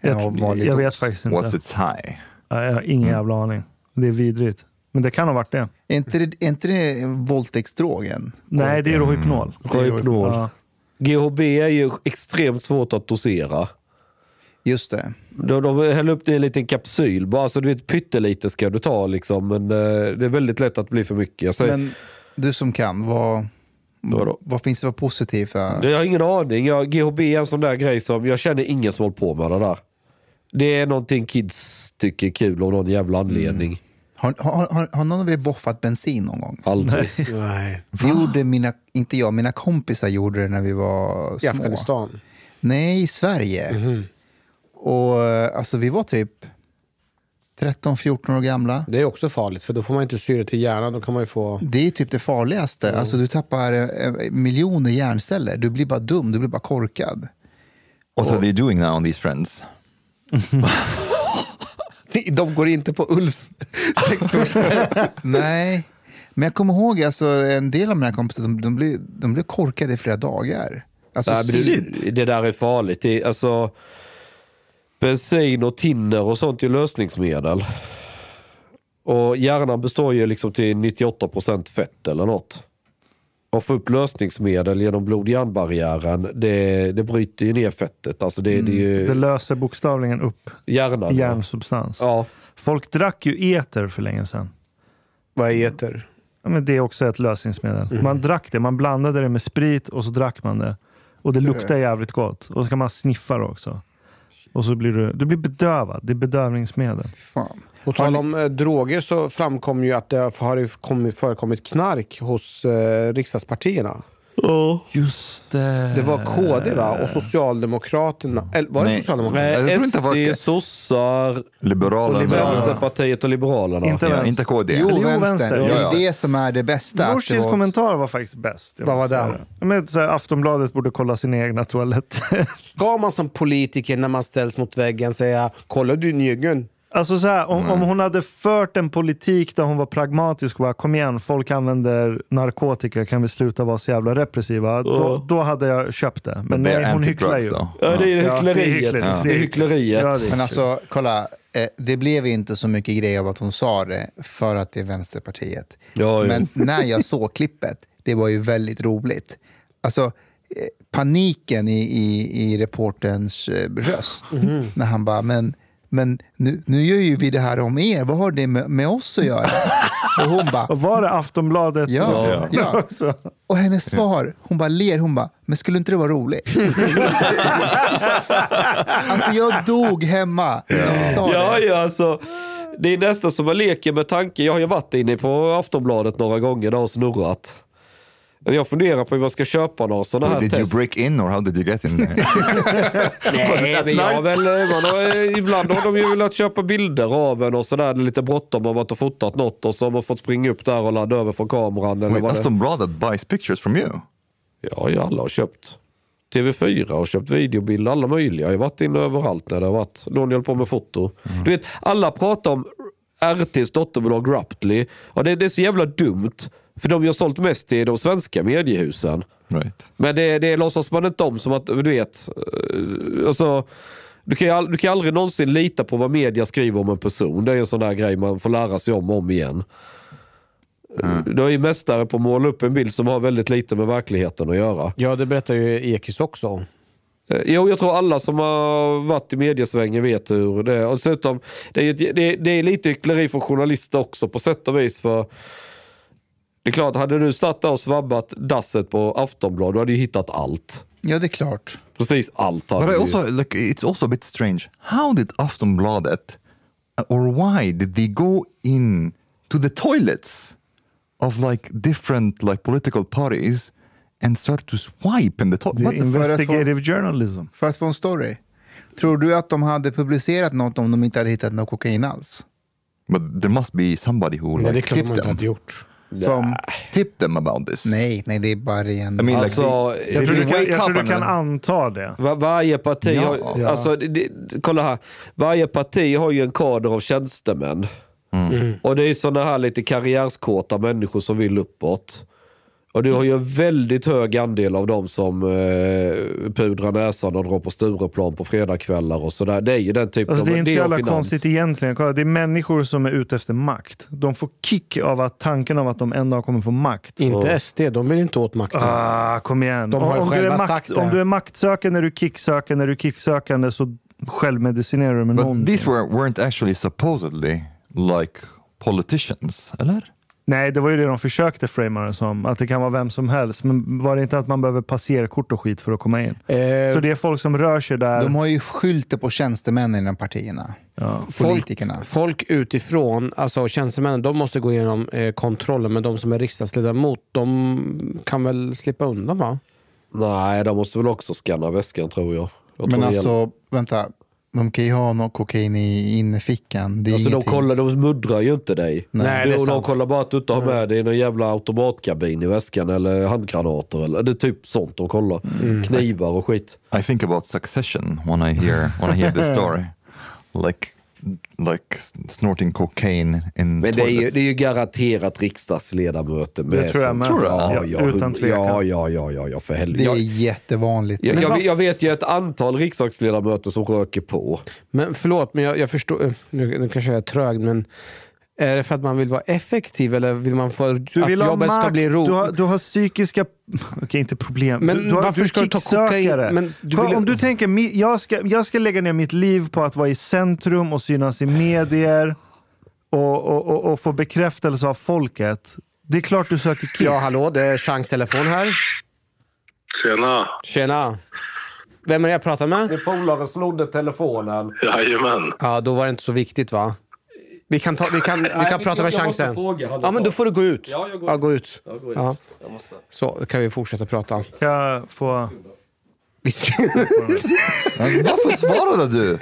[SPEAKER 4] Jag,
[SPEAKER 5] vanlig
[SPEAKER 4] jag vet
[SPEAKER 5] dos?
[SPEAKER 4] faktiskt inte.
[SPEAKER 6] What's its high?
[SPEAKER 4] Ja, Jag har ingen jävla aning. Det är vidrigt. Men det kan ha varit det.
[SPEAKER 5] Mm. Är inte det, är inte det våldtäktsdrogen?
[SPEAKER 4] Nej, det är Rohypnol.
[SPEAKER 7] Rohypnol.
[SPEAKER 4] Ja.
[SPEAKER 7] GHB är ju extremt svårt att dosera.
[SPEAKER 5] Just det.
[SPEAKER 7] De, de häller upp det i en liten kapsyl. Bara så du vet, pyttelite ska du ta liksom. Men eh, det är väldigt lätt att bli för mycket. Jag säger,
[SPEAKER 5] Men du som kan, vad,
[SPEAKER 7] Vadå?
[SPEAKER 5] vad finns det för positivt? För?
[SPEAKER 7] Jag har ingen aning. Jag, GHB är en sån där grej som jag känner ingen som håller på med det där. Det är någonting kids tycker är kul av någon jävla anledning.
[SPEAKER 5] Mm. Har, har, har, har någon av er boffat bensin någon gång?
[SPEAKER 7] Aldrig.
[SPEAKER 3] Nej.
[SPEAKER 5] Det gjorde mina, inte jag, mina kompisar gjorde det när vi var
[SPEAKER 3] I
[SPEAKER 5] små.
[SPEAKER 3] Afghanistan. Mhm.
[SPEAKER 5] Nej, i Sverige. Och eh, alltså vi var typ 13-14 år gamla.
[SPEAKER 3] Det är också farligt för då får man inte syre till hjärnan. Då kan man ju få...
[SPEAKER 5] Det är typ det farligaste.
[SPEAKER 3] Mm.
[SPEAKER 5] Alltså du tappar eh, miljoner hjärnceller. Du blir bara dum, du blir bara korkad.
[SPEAKER 6] What are they doing now on these friends?
[SPEAKER 3] De går inte på Ulfs sexårsfest.
[SPEAKER 5] Nej, men jag kommer ihåg alltså, en del av mina kompisar, de, de, blev, de blev korkade i flera dagar. Alltså,
[SPEAKER 7] Nej, men
[SPEAKER 5] sylt.
[SPEAKER 7] det, det där är farligt. Det, alltså, bensin och tinner och sånt är ju lösningsmedel. Och hjärnan består ju liksom till 98% fett eller något. Och få upp lösningsmedel genom blod-hjärnbarriären, det, det bryter ju ner fettet. Alltså det,
[SPEAKER 5] Mm.
[SPEAKER 7] det är ju
[SPEAKER 4] Mm. Det löser bokstavligen upp
[SPEAKER 7] hjärnan.
[SPEAKER 4] järnsubstans.
[SPEAKER 7] Ja.
[SPEAKER 4] Folk drack ju e- eter för länge sedan.
[SPEAKER 3] Vad är eter?
[SPEAKER 4] Ja, men det är också ett lösningsmedel. Man drack det, man blandade det med sprit och så drack man det. Och det
[SPEAKER 5] Mm.
[SPEAKER 4] luktar jävligt gott. Och så kan man sniffa det också. Och så blir du, du blir bedövad. Det är bedövningsmedel.
[SPEAKER 5] Fan.
[SPEAKER 3] På tal om eh, droger så framkom ju att det har ju kommit, förekommit knark hos eh, riksdagspartierna.
[SPEAKER 4] Just det.
[SPEAKER 3] Det var KD va? och Socialdemokraterna. Eller var det
[SPEAKER 6] Nej.
[SPEAKER 3] Socialdemokraterna?
[SPEAKER 6] Jag
[SPEAKER 7] Nej,
[SPEAKER 6] tror inte det var-
[SPEAKER 7] SD, sossar,
[SPEAKER 6] Liberalerna.
[SPEAKER 7] Vänsterpartiet och Liberalerna.
[SPEAKER 4] Inte
[SPEAKER 6] Ja,
[SPEAKER 4] vänster.
[SPEAKER 6] inte KD.
[SPEAKER 5] Jo,
[SPEAKER 4] Eller jo,
[SPEAKER 5] vänster.
[SPEAKER 4] vänster.
[SPEAKER 5] Det är
[SPEAKER 6] Ja,
[SPEAKER 5] det som är det bästa. att
[SPEAKER 4] Nooshis
[SPEAKER 5] det var-
[SPEAKER 4] kommentar var faktiskt bäst. jag
[SPEAKER 3] Vad
[SPEAKER 4] måste
[SPEAKER 3] var
[SPEAKER 4] säga
[SPEAKER 3] den?
[SPEAKER 4] det? Men, så här, Aftonbladet borde kolla sin egna toalett.
[SPEAKER 3] Ska man som politiker när man ställs mot väggen säga “kollar du njugen?”
[SPEAKER 4] Alltså så här, om, om hon hade fört en politik där hon var pragmatisk och bara kom igen, folk använder narkotika, kan vi sluta vara så jävla repressiva? Då, då hade jag köpt det. Men
[SPEAKER 6] They're
[SPEAKER 4] nej, hon hycklar
[SPEAKER 6] anti-drugs
[SPEAKER 4] ju.
[SPEAKER 6] då.
[SPEAKER 7] Ja, det är
[SPEAKER 4] Ja,
[SPEAKER 7] hyckleriet.
[SPEAKER 4] det är hyckleri.
[SPEAKER 7] Ja.
[SPEAKER 4] Det är
[SPEAKER 7] Det är hyckleriet.
[SPEAKER 4] Ja, det är
[SPEAKER 5] Men alltså, kolla. eh, Det blev ju inte så mycket grej av att hon sa det för att det är Vänsterpartiet.
[SPEAKER 7] Ja, ja.
[SPEAKER 5] Men när jag såg klippet, det var ju väldigt roligt. Alltså, eh, paniken i, i, i reporterns eh, röst
[SPEAKER 7] Mhm. Mm-hmm.
[SPEAKER 5] när han bara, men, men nu, nu gör ju vi det här om er, vad har det med, med oss att göra? Och hon bara,
[SPEAKER 4] Och var det Aftonbladet?
[SPEAKER 5] Ja, ja.
[SPEAKER 4] Också?
[SPEAKER 5] Och hennes svar, hon bara ler, hon bara, men skulle inte det vara roligt? alltså jag dog hemma när hon sa
[SPEAKER 7] Ja,
[SPEAKER 5] det.
[SPEAKER 7] ja, alltså. Det är nästan som man leker med tanken. Jag har ju varit inne på Aftonbladet några gånger där och snurrat. Jag funderar på hur man ska köpa några sådana här
[SPEAKER 6] Oh, Did you
[SPEAKER 7] test.
[SPEAKER 6] break in or how did you get in?
[SPEAKER 7] Nej, men jag har väl, eh, man har, ibland har de ju velat köpa bilder av en och sådär. Det är lite bråttom om att ha fotat något och så har man fått springa upp där och ladda över från kameran. Eller
[SPEAKER 6] Wait,
[SPEAKER 7] vad det...
[SPEAKER 6] Aftonbladet buys pictures from you?
[SPEAKER 7] Ja, ja, alla har köpt. TV4 har köpt videobilder, alla möjliga. Jag har varit inne överallt när det har varit. Någon höll på med foto. Du vet, alla pratar om RTs dotterbolag Raptly. Och det, det är så jävla dumt. För de har sålt mest till de svenska mediehusen.
[SPEAKER 6] Right.
[SPEAKER 7] Men det, det låtsas man inte om som att, du vet. eh, Alltså, du, kan ju all, du kan aldrig någonsin lita på vad media skriver om en person. Det är ju en sån där grej man får lära sig om och om igen. Du är ju mästare på att måla upp en bild som har väldigt lite med verkligheten att göra.
[SPEAKER 3] Ja, det berättar ju Ekis också om.
[SPEAKER 7] Eh, Jo, jag tror alla som har varit i mediesvängen vet hur det är. Och dessutom, det är, ju ett- det, det är lite hyckleri från journalister också på sätt och vis. För det är klart, hade du stått där och svabbat dasset på Aftonbladet, du hade ju hittat allt.
[SPEAKER 5] Ja, det är klart.
[SPEAKER 7] Precis allt hade
[SPEAKER 6] But I
[SPEAKER 7] du ju.
[SPEAKER 6] also like it's also a bit strange. How did Aftonbladet or why did they go in to the toilets of like different like political parties and start to swipe in the
[SPEAKER 4] Det är
[SPEAKER 6] toilet?
[SPEAKER 4] investigative journalism.
[SPEAKER 5] För att få en story. Tror du att de hade publicerat något om de inte hade hittat något kokain alls?
[SPEAKER 6] But there must be somebody who
[SPEAKER 3] Men det är
[SPEAKER 6] like
[SPEAKER 3] klart att man
[SPEAKER 6] tipped
[SPEAKER 3] inte hade
[SPEAKER 6] them,
[SPEAKER 3] gjort.
[SPEAKER 5] Som,
[SPEAKER 6] tipped them about this.
[SPEAKER 5] nej, nej, det är bara ren...
[SPEAKER 6] I mean, like
[SPEAKER 7] Alltså,
[SPEAKER 6] they-
[SPEAKER 4] Jag
[SPEAKER 6] they
[SPEAKER 4] tror du
[SPEAKER 6] didn't
[SPEAKER 4] kan,
[SPEAKER 6] wake
[SPEAKER 4] jag
[SPEAKER 6] up
[SPEAKER 4] tror du
[SPEAKER 6] and
[SPEAKER 4] kan
[SPEAKER 6] then-
[SPEAKER 4] anta det.
[SPEAKER 7] Va- Varje parti,
[SPEAKER 6] Ja.
[SPEAKER 7] har, Alltså, det, det, kolla här. Varje parti har ju en kader av tjänstemän.
[SPEAKER 5] Mm.
[SPEAKER 4] Mm.
[SPEAKER 7] Och det är sådana här lite karriärskåta människor som vill uppåt. Och du har ju en väldigt hög andel av dem som eh, pudrar näsan och drar på Stureplan på fredagskvällar och sådär. Det är ju den typen
[SPEAKER 4] Alltså,
[SPEAKER 7] av...
[SPEAKER 4] det är inte
[SPEAKER 7] och
[SPEAKER 4] så jävla
[SPEAKER 7] finans.
[SPEAKER 4] konstigt egentligen. Kolla, det är människor som är ute efter makt. De får kick av att tanken av att de en dag kommer få makt.
[SPEAKER 3] Inte SD, de vill inte åt makten.
[SPEAKER 4] Ah, kom igen.
[SPEAKER 3] De har ju
[SPEAKER 4] om, du är
[SPEAKER 3] själva
[SPEAKER 4] makt,
[SPEAKER 3] sagt det.
[SPEAKER 4] om du är maktsökande, är du kicksökande, är du kicksökande så självmedicinerar du med
[SPEAKER 6] But
[SPEAKER 4] någonting.
[SPEAKER 6] these were, weren't actually supposedly like politicians, eller?
[SPEAKER 4] Nej, det var ju det de försökte framea det som. Att det kan vara vem som helst. Men var det inte att man behöver passerkort och skit för att komma in?
[SPEAKER 3] Eh,
[SPEAKER 4] Så det är folk som rör sig där.
[SPEAKER 5] De har ju skylter på tjänstemännen inom partierna. Politikerna.
[SPEAKER 3] Folk, folk utifrån, alltså tjänstemännen, de måste gå igenom eh, kontrollen. Men de som är riksdagsledamot, de kan väl slippa undan va?
[SPEAKER 7] Nej, de måste väl också skanna väskan tror jag. jag tror
[SPEAKER 5] Men
[SPEAKER 7] det gäller.
[SPEAKER 5] alltså, vänta. De kan ju ha något kokain i innerfickan. Det är
[SPEAKER 7] Alltså de,
[SPEAKER 5] ingenting.
[SPEAKER 7] kollar, de muddrar ju inte dig.
[SPEAKER 3] Nej, det är
[SPEAKER 7] de, de
[SPEAKER 3] sant.
[SPEAKER 7] kollar bara att du inte har med dig någon jävla automatkabin i väskan eller handgranater. Eller, det är typ sånt de kollar. Knivar och skit.
[SPEAKER 6] I think about Succession when I hear when I hear this story. Like like s- snorting cocaine in
[SPEAKER 7] Men det är, ju,
[SPEAKER 6] toilets.
[SPEAKER 7] det är ju garanterat riksdagsledamöter med.
[SPEAKER 6] Det tror jag
[SPEAKER 7] som-
[SPEAKER 6] med.
[SPEAKER 5] Tror du?
[SPEAKER 7] Ja,
[SPEAKER 5] Ja,
[SPEAKER 7] ja,
[SPEAKER 5] utan
[SPEAKER 7] hund-
[SPEAKER 5] tvekan.
[SPEAKER 7] ja, ja, ja, ja, ja, för helvete.
[SPEAKER 5] Det är
[SPEAKER 7] Jag,
[SPEAKER 5] jättevanligt.
[SPEAKER 7] jag,
[SPEAKER 5] Men
[SPEAKER 7] jag,
[SPEAKER 5] vad
[SPEAKER 7] jag vet ju ett antal riksdagsledamöter som röker på.
[SPEAKER 3] Men förlåt, men jag, jag förstår. eh, Nu, nu kanske jag är trög, men är det för att man vill vara effektiv eller vill man få
[SPEAKER 4] Du vill
[SPEAKER 3] att
[SPEAKER 4] ha
[SPEAKER 3] jobbet
[SPEAKER 4] makt,
[SPEAKER 3] ska bli roligt?
[SPEAKER 4] Du, har, du har psykiska... Okej, inte problem.
[SPEAKER 3] Men
[SPEAKER 4] du, du har,
[SPEAKER 3] varför
[SPEAKER 4] du är
[SPEAKER 3] ska du ta kokain?
[SPEAKER 4] kicksökare.
[SPEAKER 3] Men du
[SPEAKER 4] Kolla,
[SPEAKER 3] vill-
[SPEAKER 4] Om du tänker, mi- jag ska, jag ska lägga ner mitt liv på att vara i centrum och synas i medier och, och, och, och få bekräftelse av folket. Det är klart du söker kick.
[SPEAKER 3] Ja, hallå, det är chanstelefon Eh, här.
[SPEAKER 11] Tjena!
[SPEAKER 3] Tjena! Vem är det jag pratar med?
[SPEAKER 7] Min polare snodde telefonen.
[SPEAKER 11] Jajamän.
[SPEAKER 3] Ja, då var det inte så viktigt va? Vi kan, ta, vi kan, vi
[SPEAKER 7] Nej,
[SPEAKER 3] kan
[SPEAKER 7] vi-
[SPEAKER 3] prata med
[SPEAKER 7] jag måste
[SPEAKER 3] chansen.
[SPEAKER 7] fråga, hallå.
[SPEAKER 3] Ja, men då får du gå ut.
[SPEAKER 7] Ja, jag går
[SPEAKER 3] ja,
[SPEAKER 7] ut.
[SPEAKER 3] gå ut.
[SPEAKER 7] Jag går ut.
[SPEAKER 3] Ja.
[SPEAKER 7] Jag måste.
[SPEAKER 3] Så kan vi fortsätta prata.
[SPEAKER 4] Kan jag få...
[SPEAKER 6] Varför svarade du?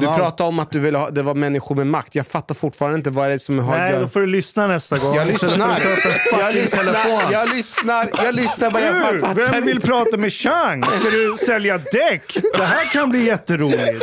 [SPEAKER 3] du
[SPEAKER 6] har-
[SPEAKER 3] pratade om att du ville ha, det var människor med makt. Jag fattar fortfarande inte vad det är som har att
[SPEAKER 4] Nej,
[SPEAKER 3] göra-
[SPEAKER 4] då får du lyssna nästa gång.
[SPEAKER 3] Jag
[SPEAKER 4] Istället för att
[SPEAKER 3] lyssnar.
[SPEAKER 4] ta upp en fucking
[SPEAKER 3] Jag lyssnar.
[SPEAKER 4] telefon.
[SPEAKER 3] Jag lyssnar. Jag lyssnar vad jag
[SPEAKER 4] Du,
[SPEAKER 3] fattar.
[SPEAKER 4] vem vill prata med Chang? Ska du sälja däck? Det här kan bli jätteroligt.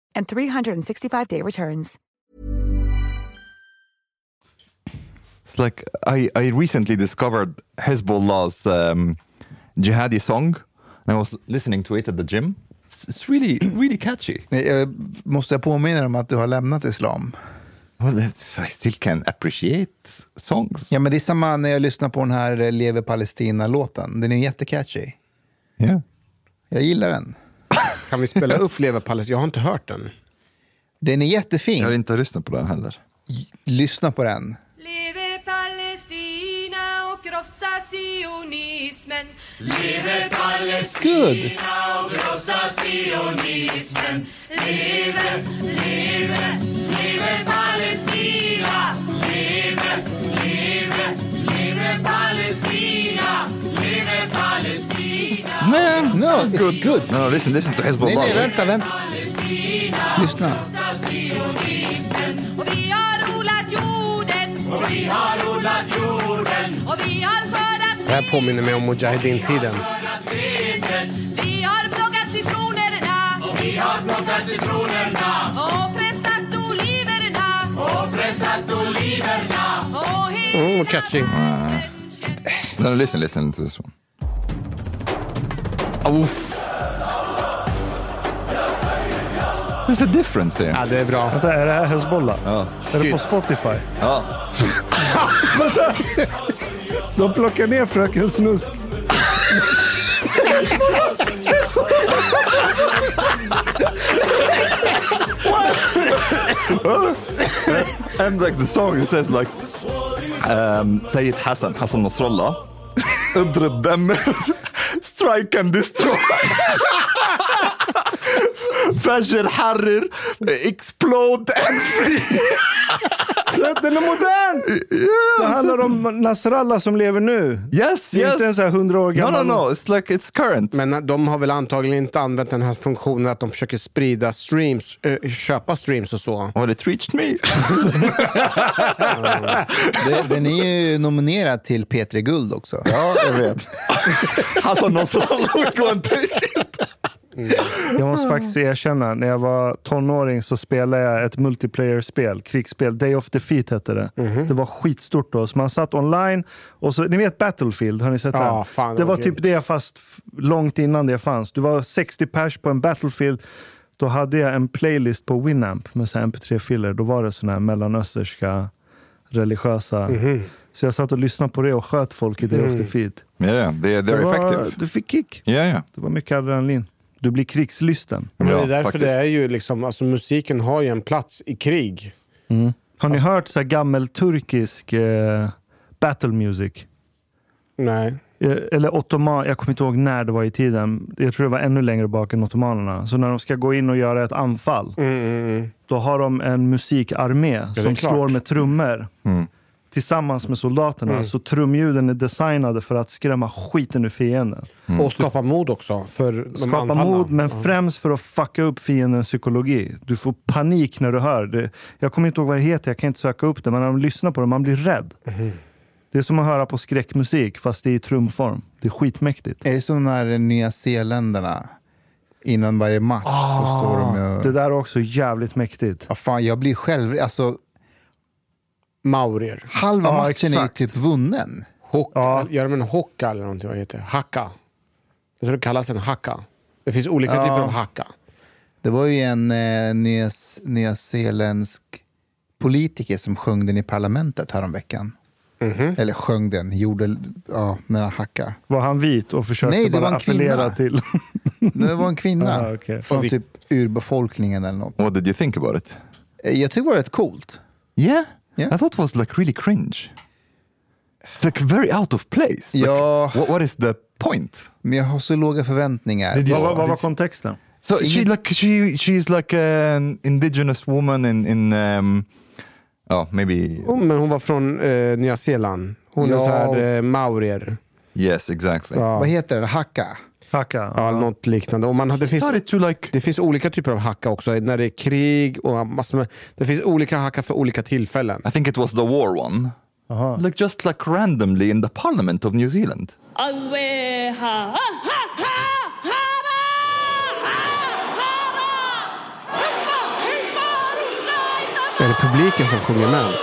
[SPEAKER 12] and 365-day returns.
[SPEAKER 6] It's like I, I recently discovered Hezbollah's um, jihadi song, and I was listening to it at the gym. It's, it's really really catchy.
[SPEAKER 5] Nej, jag- Måste jag påminna dig om att du har lämnat islam?
[SPEAKER 6] Well, it's, I still can appreciate songs.
[SPEAKER 5] Ja, men det är samma när jag lyssnar på den här eh, Lever Palestina-låten. Den är jättecatchy.
[SPEAKER 6] Ja.
[SPEAKER 5] Jag gillar den.
[SPEAKER 3] Kan vi spela upp Lever Palestina? Jag har inte hört den.
[SPEAKER 5] Den är jättefin. Jag har
[SPEAKER 6] inte lyssnat på den heller.
[SPEAKER 5] Lyssna på den.
[SPEAKER 13] Leve Palestina och krossa sionismen. Leve Palestina och krossa sionismen. Leve, leve, leve Palestina. Leve, leve, leve Palestina. Leve Palestina.
[SPEAKER 6] No, no, it's good. good. No, listen, listen to Hezbollah.
[SPEAKER 5] Nej, nej, vänta, vänta.
[SPEAKER 13] Palestina.
[SPEAKER 5] Lyssna.
[SPEAKER 13] krossa sionismen. Och vi har odlat jorden. Och vi har odlat jorden. Och vi har skördat
[SPEAKER 3] Det här påminner mig om Mujahedin-tiden.
[SPEAKER 13] Vi har plockat citronerna
[SPEAKER 11] Och vi har plockat citronerna
[SPEAKER 13] och pressat oliverna
[SPEAKER 11] och pressat oliverna.
[SPEAKER 13] och he-
[SPEAKER 6] Oh, catchy. no, listen, listen to this one. Ah, Oof. There's a difference here.
[SPEAKER 3] Ja, det är bra.
[SPEAKER 4] Vänta, är det här Hezbollah?
[SPEAKER 6] Ja.
[SPEAKER 4] Är det på Spotify?
[SPEAKER 6] Ja.
[SPEAKER 4] Vänta. De plockar ner Fröken Snusk.
[SPEAKER 6] and like the song it says like um, Sayyid Hassan Hassan Nasrallah اضرب دمر strike and destroy ف انفجر حرر اكسبلود
[SPEAKER 4] Den är modern! Det handlar om Nasrallah som lever nu.
[SPEAKER 6] Alltså- Yes,
[SPEAKER 4] Det är inte en så här 100 år gammal.
[SPEAKER 6] It's like it's current.
[SPEAKER 3] Men de har väl antagligen inte använt den här funktionen att de försöker sprida streams, eh, köpa streams och så.
[SPEAKER 6] Well, it reached me.
[SPEAKER 5] Det- Den är ju nominerad till P3 Guld också.
[SPEAKER 6] Ja, jag vet. Alltså, någon som går
[SPEAKER 4] Jag måste
[SPEAKER 3] Ah.
[SPEAKER 4] faktiskt erkänna, när jag var tonåring så spelade jag ett multiplayer-spel, krigsspel. Day of Defeat hette det.
[SPEAKER 3] Mhm.
[SPEAKER 4] Det var skitstort då. Så man satt online och så, ni vet Battlefield, har ni sett
[SPEAKER 3] Ja,
[SPEAKER 4] den?
[SPEAKER 3] fan, det
[SPEAKER 4] det
[SPEAKER 3] var
[SPEAKER 4] var typ
[SPEAKER 3] grymt.
[SPEAKER 4] det fast f- långt innan det fanns. Du var 60 pers på en Battlefield. Då hade jag en playlist på Winamp med så här mp3-filer. Då var det såna här mellanösterska religiösa.
[SPEAKER 6] Mhm.
[SPEAKER 4] Så jag satt och lyssnade på det och sköt folk i Day of
[SPEAKER 6] Mm.
[SPEAKER 4] Defeat.
[SPEAKER 6] Yeah, they,
[SPEAKER 4] Det
[SPEAKER 6] they're
[SPEAKER 4] var-
[SPEAKER 6] effective.
[SPEAKER 4] Du fick kick.
[SPEAKER 6] Yeah, yeah.
[SPEAKER 4] Det var mycket adrenalin. Du blir krigslysten.
[SPEAKER 3] Men det är därför
[SPEAKER 4] faktiskt.
[SPEAKER 3] det är ju liksom, alltså musiken har ju en plats i krig.
[SPEAKER 4] Mm. Har
[SPEAKER 3] Alltså-
[SPEAKER 4] ni hört så här gammal turkisk eh, battle music?
[SPEAKER 3] Nej.
[SPEAKER 4] Eh, Eller ottoman, jag kommer inte ihåg när det var i tiden. Jag tror det var ännu längre bak än ottomanerna. Så när de ska gå in och göra ett anfall,
[SPEAKER 3] Mm,
[SPEAKER 4] då har de en musikarmé
[SPEAKER 3] det är
[SPEAKER 4] som
[SPEAKER 3] klart.
[SPEAKER 4] slår med trummor
[SPEAKER 6] Hmm.
[SPEAKER 4] tillsammans med soldaterna.
[SPEAKER 3] Mm.
[SPEAKER 4] Så trumljuden är designade för att skrämma skiten ur fienden.
[SPEAKER 3] Och skapa mod också för de
[SPEAKER 4] Skapa
[SPEAKER 3] anfallna.
[SPEAKER 4] mod, men
[SPEAKER 3] Ja.
[SPEAKER 4] främst för att fucka upp fiendens psykologi. Du får panik när du hör. Det, jag kommer inte ihåg vad det heter, jag kan inte söka upp det, men när man lyssnar på det, man blir rädd. Det är som att höra på skräckmusik, fast det är i trumform. Det är skitmäktigt.
[SPEAKER 5] Är det som när Nya Zeeländarna, innan varje match så står de ju...
[SPEAKER 4] Ah, Det där är också jävligt mäktigt.
[SPEAKER 5] Ja, fan, jag blir själv... Alltså,
[SPEAKER 3] Maurier.
[SPEAKER 5] Halva matchen är ju typ vunnen.
[SPEAKER 3] Hock, Gör de en hocka eller någonting? Vad heter det? Hacka. Jag tror det kallas en hacka. Det finns olika
[SPEAKER 5] Ja.
[SPEAKER 3] typer av hacka.
[SPEAKER 5] Det var ju en eh, nys, nyzeeländsk politiker som sjöng den i parlamentet häromveckan. Eller sjöng den, gjorde, ja, när han hacka.
[SPEAKER 4] Mhm. Var han vit och försökte
[SPEAKER 5] Nej, det
[SPEAKER 4] bara
[SPEAKER 5] var en
[SPEAKER 4] appellera
[SPEAKER 5] kvinna.
[SPEAKER 4] till...
[SPEAKER 5] Det var en kvinna
[SPEAKER 4] Ah, okej.
[SPEAKER 5] från typ urbefolkningen eller något.
[SPEAKER 6] What did you think about it?
[SPEAKER 5] Eh, Jag tyckte det var rätt coolt.
[SPEAKER 6] Yeah? I thought it was like really cringe. It's like very out of place. Like,
[SPEAKER 5] Ja.
[SPEAKER 6] what, what is the point?
[SPEAKER 5] Men jag har så låga förväntningar.
[SPEAKER 6] Did you- Vad- vad- vad var
[SPEAKER 4] kontexten?
[SPEAKER 6] So she like she she's like an indigenous woman in in um, oh maybe
[SPEAKER 3] Oh, men hon var från eh, Nya Zeeland. Hon är
[SPEAKER 6] Ja.
[SPEAKER 3] så här eh, maurier.
[SPEAKER 6] yes exactly.
[SPEAKER 3] Vad
[SPEAKER 5] heter den? Hacka?
[SPEAKER 4] Hacka.
[SPEAKER 3] Ja, något liknande. Och man, det, finns,
[SPEAKER 6] det
[SPEAKER 3] finns olika typer av hacka också. När det är krig och massor med, Det finns olika hacka för olika tillfällen.
[SPEAKER 6] I think it was the war one. Like just like randomly in the parliament of New Zealand.
[SPEAKER 11] Aweha.
[SPEAKER 3] Är det publiken som sjunger med?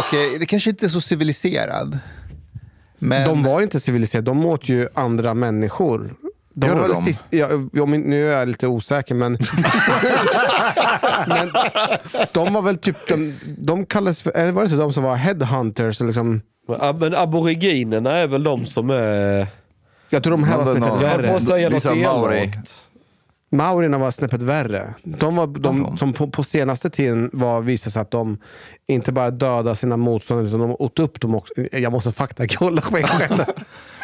[SPEAKER 5] Okej, det kanske inte är så civiliserad. Men...
[SPEAKER 3] De var ju inte civiliserade, de åt ju andra människor. De
[SPEAKER 5] Gör
[SPEAKER 3] var väl
[SPEAKER 5] de?
[SPEAKER 3] Sist, ja, om, nu är jag lite osäker, men... men de var väl typ... De, de kallades för, eller var det inte de som var headhunters? Liksom,
[SPEAKER 7] Men, ab- men aboriginerna är väl de som är...
[SPEAKER 3] jag tror de här var
[SPEAKER 7] Men
[SPEAKER 3] snäppet
[SPEAKER 7] den har-
[SPEAKER 3] värre.
[SPEAKER 7] Jag höll på att säga These något are Maori.
[SPEAKER 3] Maurierna var snäppet värre. De var de som på, på senaste tiden var, visade sig att de inte bara dödade sina motståndare, utan de åt upp dem också. Jag måste faktakolla mig själv.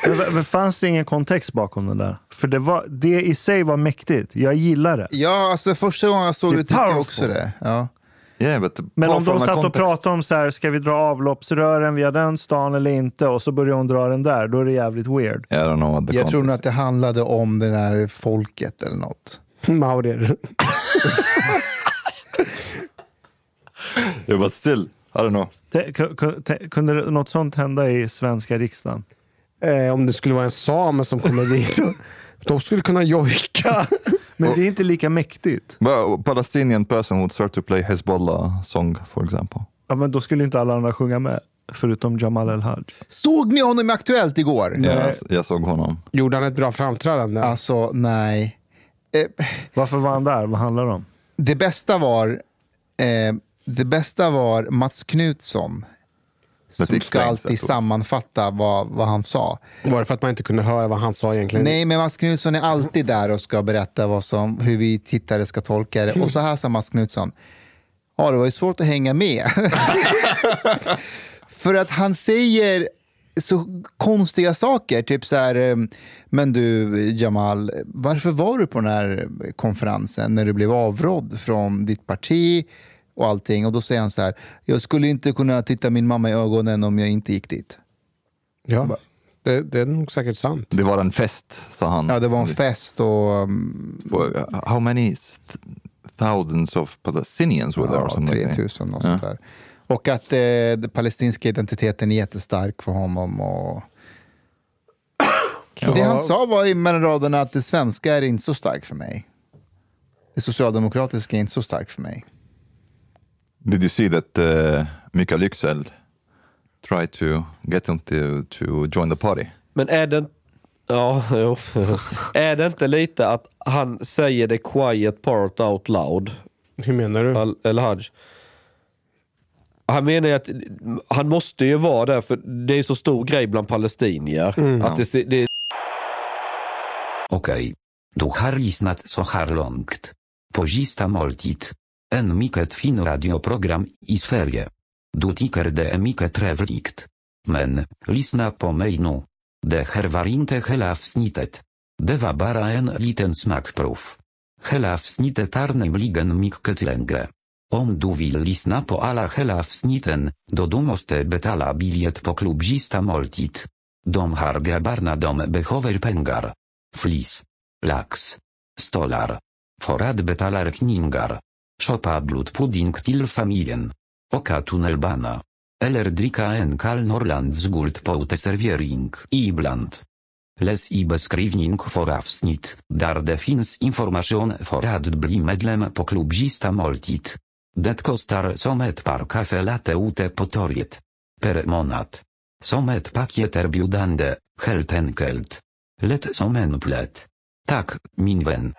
[SPEAKER 4] Men, men fanns det ingen kontext bakom den där? För det, var, det i sig var mäktigt. Jag gillar det.
[SPEAKER 5] Ja, alltså första gången jag såg
[SPEAKER 4] Det
[SPEAKER 5] det,
[SPEAKER 4] är
[SPEAKER 5] tyckte jag
[SPEAKER 4] powerful.
[SPEAKER 5] också det. Ja.
[SPEAKER 6] Yeah, but the-
[SPEAKER 4] Men
[SPEAKER 6] apart
[SPEAKER 4] om
[SPEAKER 6] from
[SPEAKER 4] de
[SPEAKER 6] the
[SPEAKER 4] satt och
[SPEAKER 6] context-
[SPEAKER 4] pratade om så här, ska vi dra avloppsrören via den stan eller inte? Och så börjar hon dra den där. Då är det jävligt weird.
[SPEAKER 6] I don't know what the
[SPEAKER 5] Jag tror
[SPEAKER 6] context.
[SPEAKER 5] nog att det handlade om det där folket eller något.
[SPEAKER 3] Maurier.
[SPEAKER 6] Yeah, but still, I don't know.
[SPEAKER 4] Te- ku- ku- te- Kunde det- något sånt hända i svenska riksdagen?
[SPEAKER 3] Eh, om det skulle vara en same som kommer dit. och- De skulle kunna jojka.
[SPEAKER 4] Men det är inte lika mäktigt.
[SPEAKER 6] Well, a Palestinian person would start to play Hezbollah song, for example.
[SPEAKER 4] Ja, men då skulle inte alla andra sjunga med, förutom Jamal El-Haj.
[SPEAKER 5] Såg ni honom i Aktuellt igår?
[SPEAKER 6] Yeah, jag- jag såg honom.
[SPEAKER 3] Gjorde han ett bra framträdande?
[SPEAKER 5] Alltså, nej. Eh,
[SPEAKER 4] Varför var han där? Vad handlar det om?
[SPEAKER 5] det bästa var, eh, det bästa var Mats Knutsson
[SPEAKER 6] That
[SPEAKER 5] som ska
[SPEAKER 6] explains
[SPEAKER 5] alltid
[SPEAKER 6] afterwards.
[SPEAKER 5] sammanfatta vad, vad han sa.
[SPEAKER 3] Var det för att man inte kunde höra vad han sa egentligen?
[SPEAKER 5] Nej, men Mats Knutsson är alltid där och ska berätta vad som, hur vi tittare ska tolka det. Och så här sa Mats Knutsson, ja det var ju svårt att hänga med. För att han säger så konstiga saker, typ så här, eh, men du Jamal, varför var du på den här konferensen när du blev avrådd från ditt parti och allting? Och då säger han så här, jag skulle inte kunna titta min mamma i ögonen om jag inte gick dit.
[SPEAKER 3] Ja, det, det är nog säkert sant.
[SPEAKER 6] Det var en fest, sa han.
[SPEAKER 5] Ja, det var en fest och... Um,
[SPEAKER 6] How many th- thousands of Palestinians were there? or
[SPEAKER 5] Ja,
[SPEAKER 6] something like that?
[SPEAKER 5] 3000 och
[SPEAKER 6] Ja.
[SPEAKER 5] sånt där. Och att eh, den palestinska identiteten är jättestark för honom. Och...
[SPEAKER 6] Ja.
[SPEAKER 5] Det han sa var i mellan raderna att det svenska är inte så starkt för mig. Det socialdemokratiska är inte så starkt för mig.
[SPEAKER 6] Did you see that uh, Mikael Yüksel tried to get him to, to join the party?
[SPEAKER 7] Men är det... Ja, jo. är det inte lite att han säger the quiet part out loud?
[SPEAKER 3] Hur menar du?
[SPEAKER 7] Al, El Haj. Han menar ju att han måste ju vara där för det är så stor grej bland palestinier.
[SPEAKER 14] Mm.
[SPEAKER 7] Att det, det,
[SPEAKER 14] Okej. Du har lyssnat så här långt. På sista måltid. En mycket fin radioprogram i Sverige. Du tycker det är mycket trevligt. Men, lyssna på mig nu. Det här var inte hela avsnittet. Det var bara en liten smakprov. Hela avsnittet är nämligen mycket längre. Om du vill lyssna på alla hela avsnitten, då du måste betala bilet på klubbista måltid. De har grabbarna dom behöver pengar. Flis. Lax. Stolar. Forad betalar kningar. Shopa blodpudding till familjen. Oka tunnelbana. Eller dricka en kall norrlandsguld servering ibland. Les i beskrivning for avsnitt, dar det finns information for att bli medlem på klubbista måltid. Det kostar som ett par kaffe latte ute på torget. Per månad. Som ett paket erbjudande, helt enkelt. Lätt som en plätt. Tak, min vän.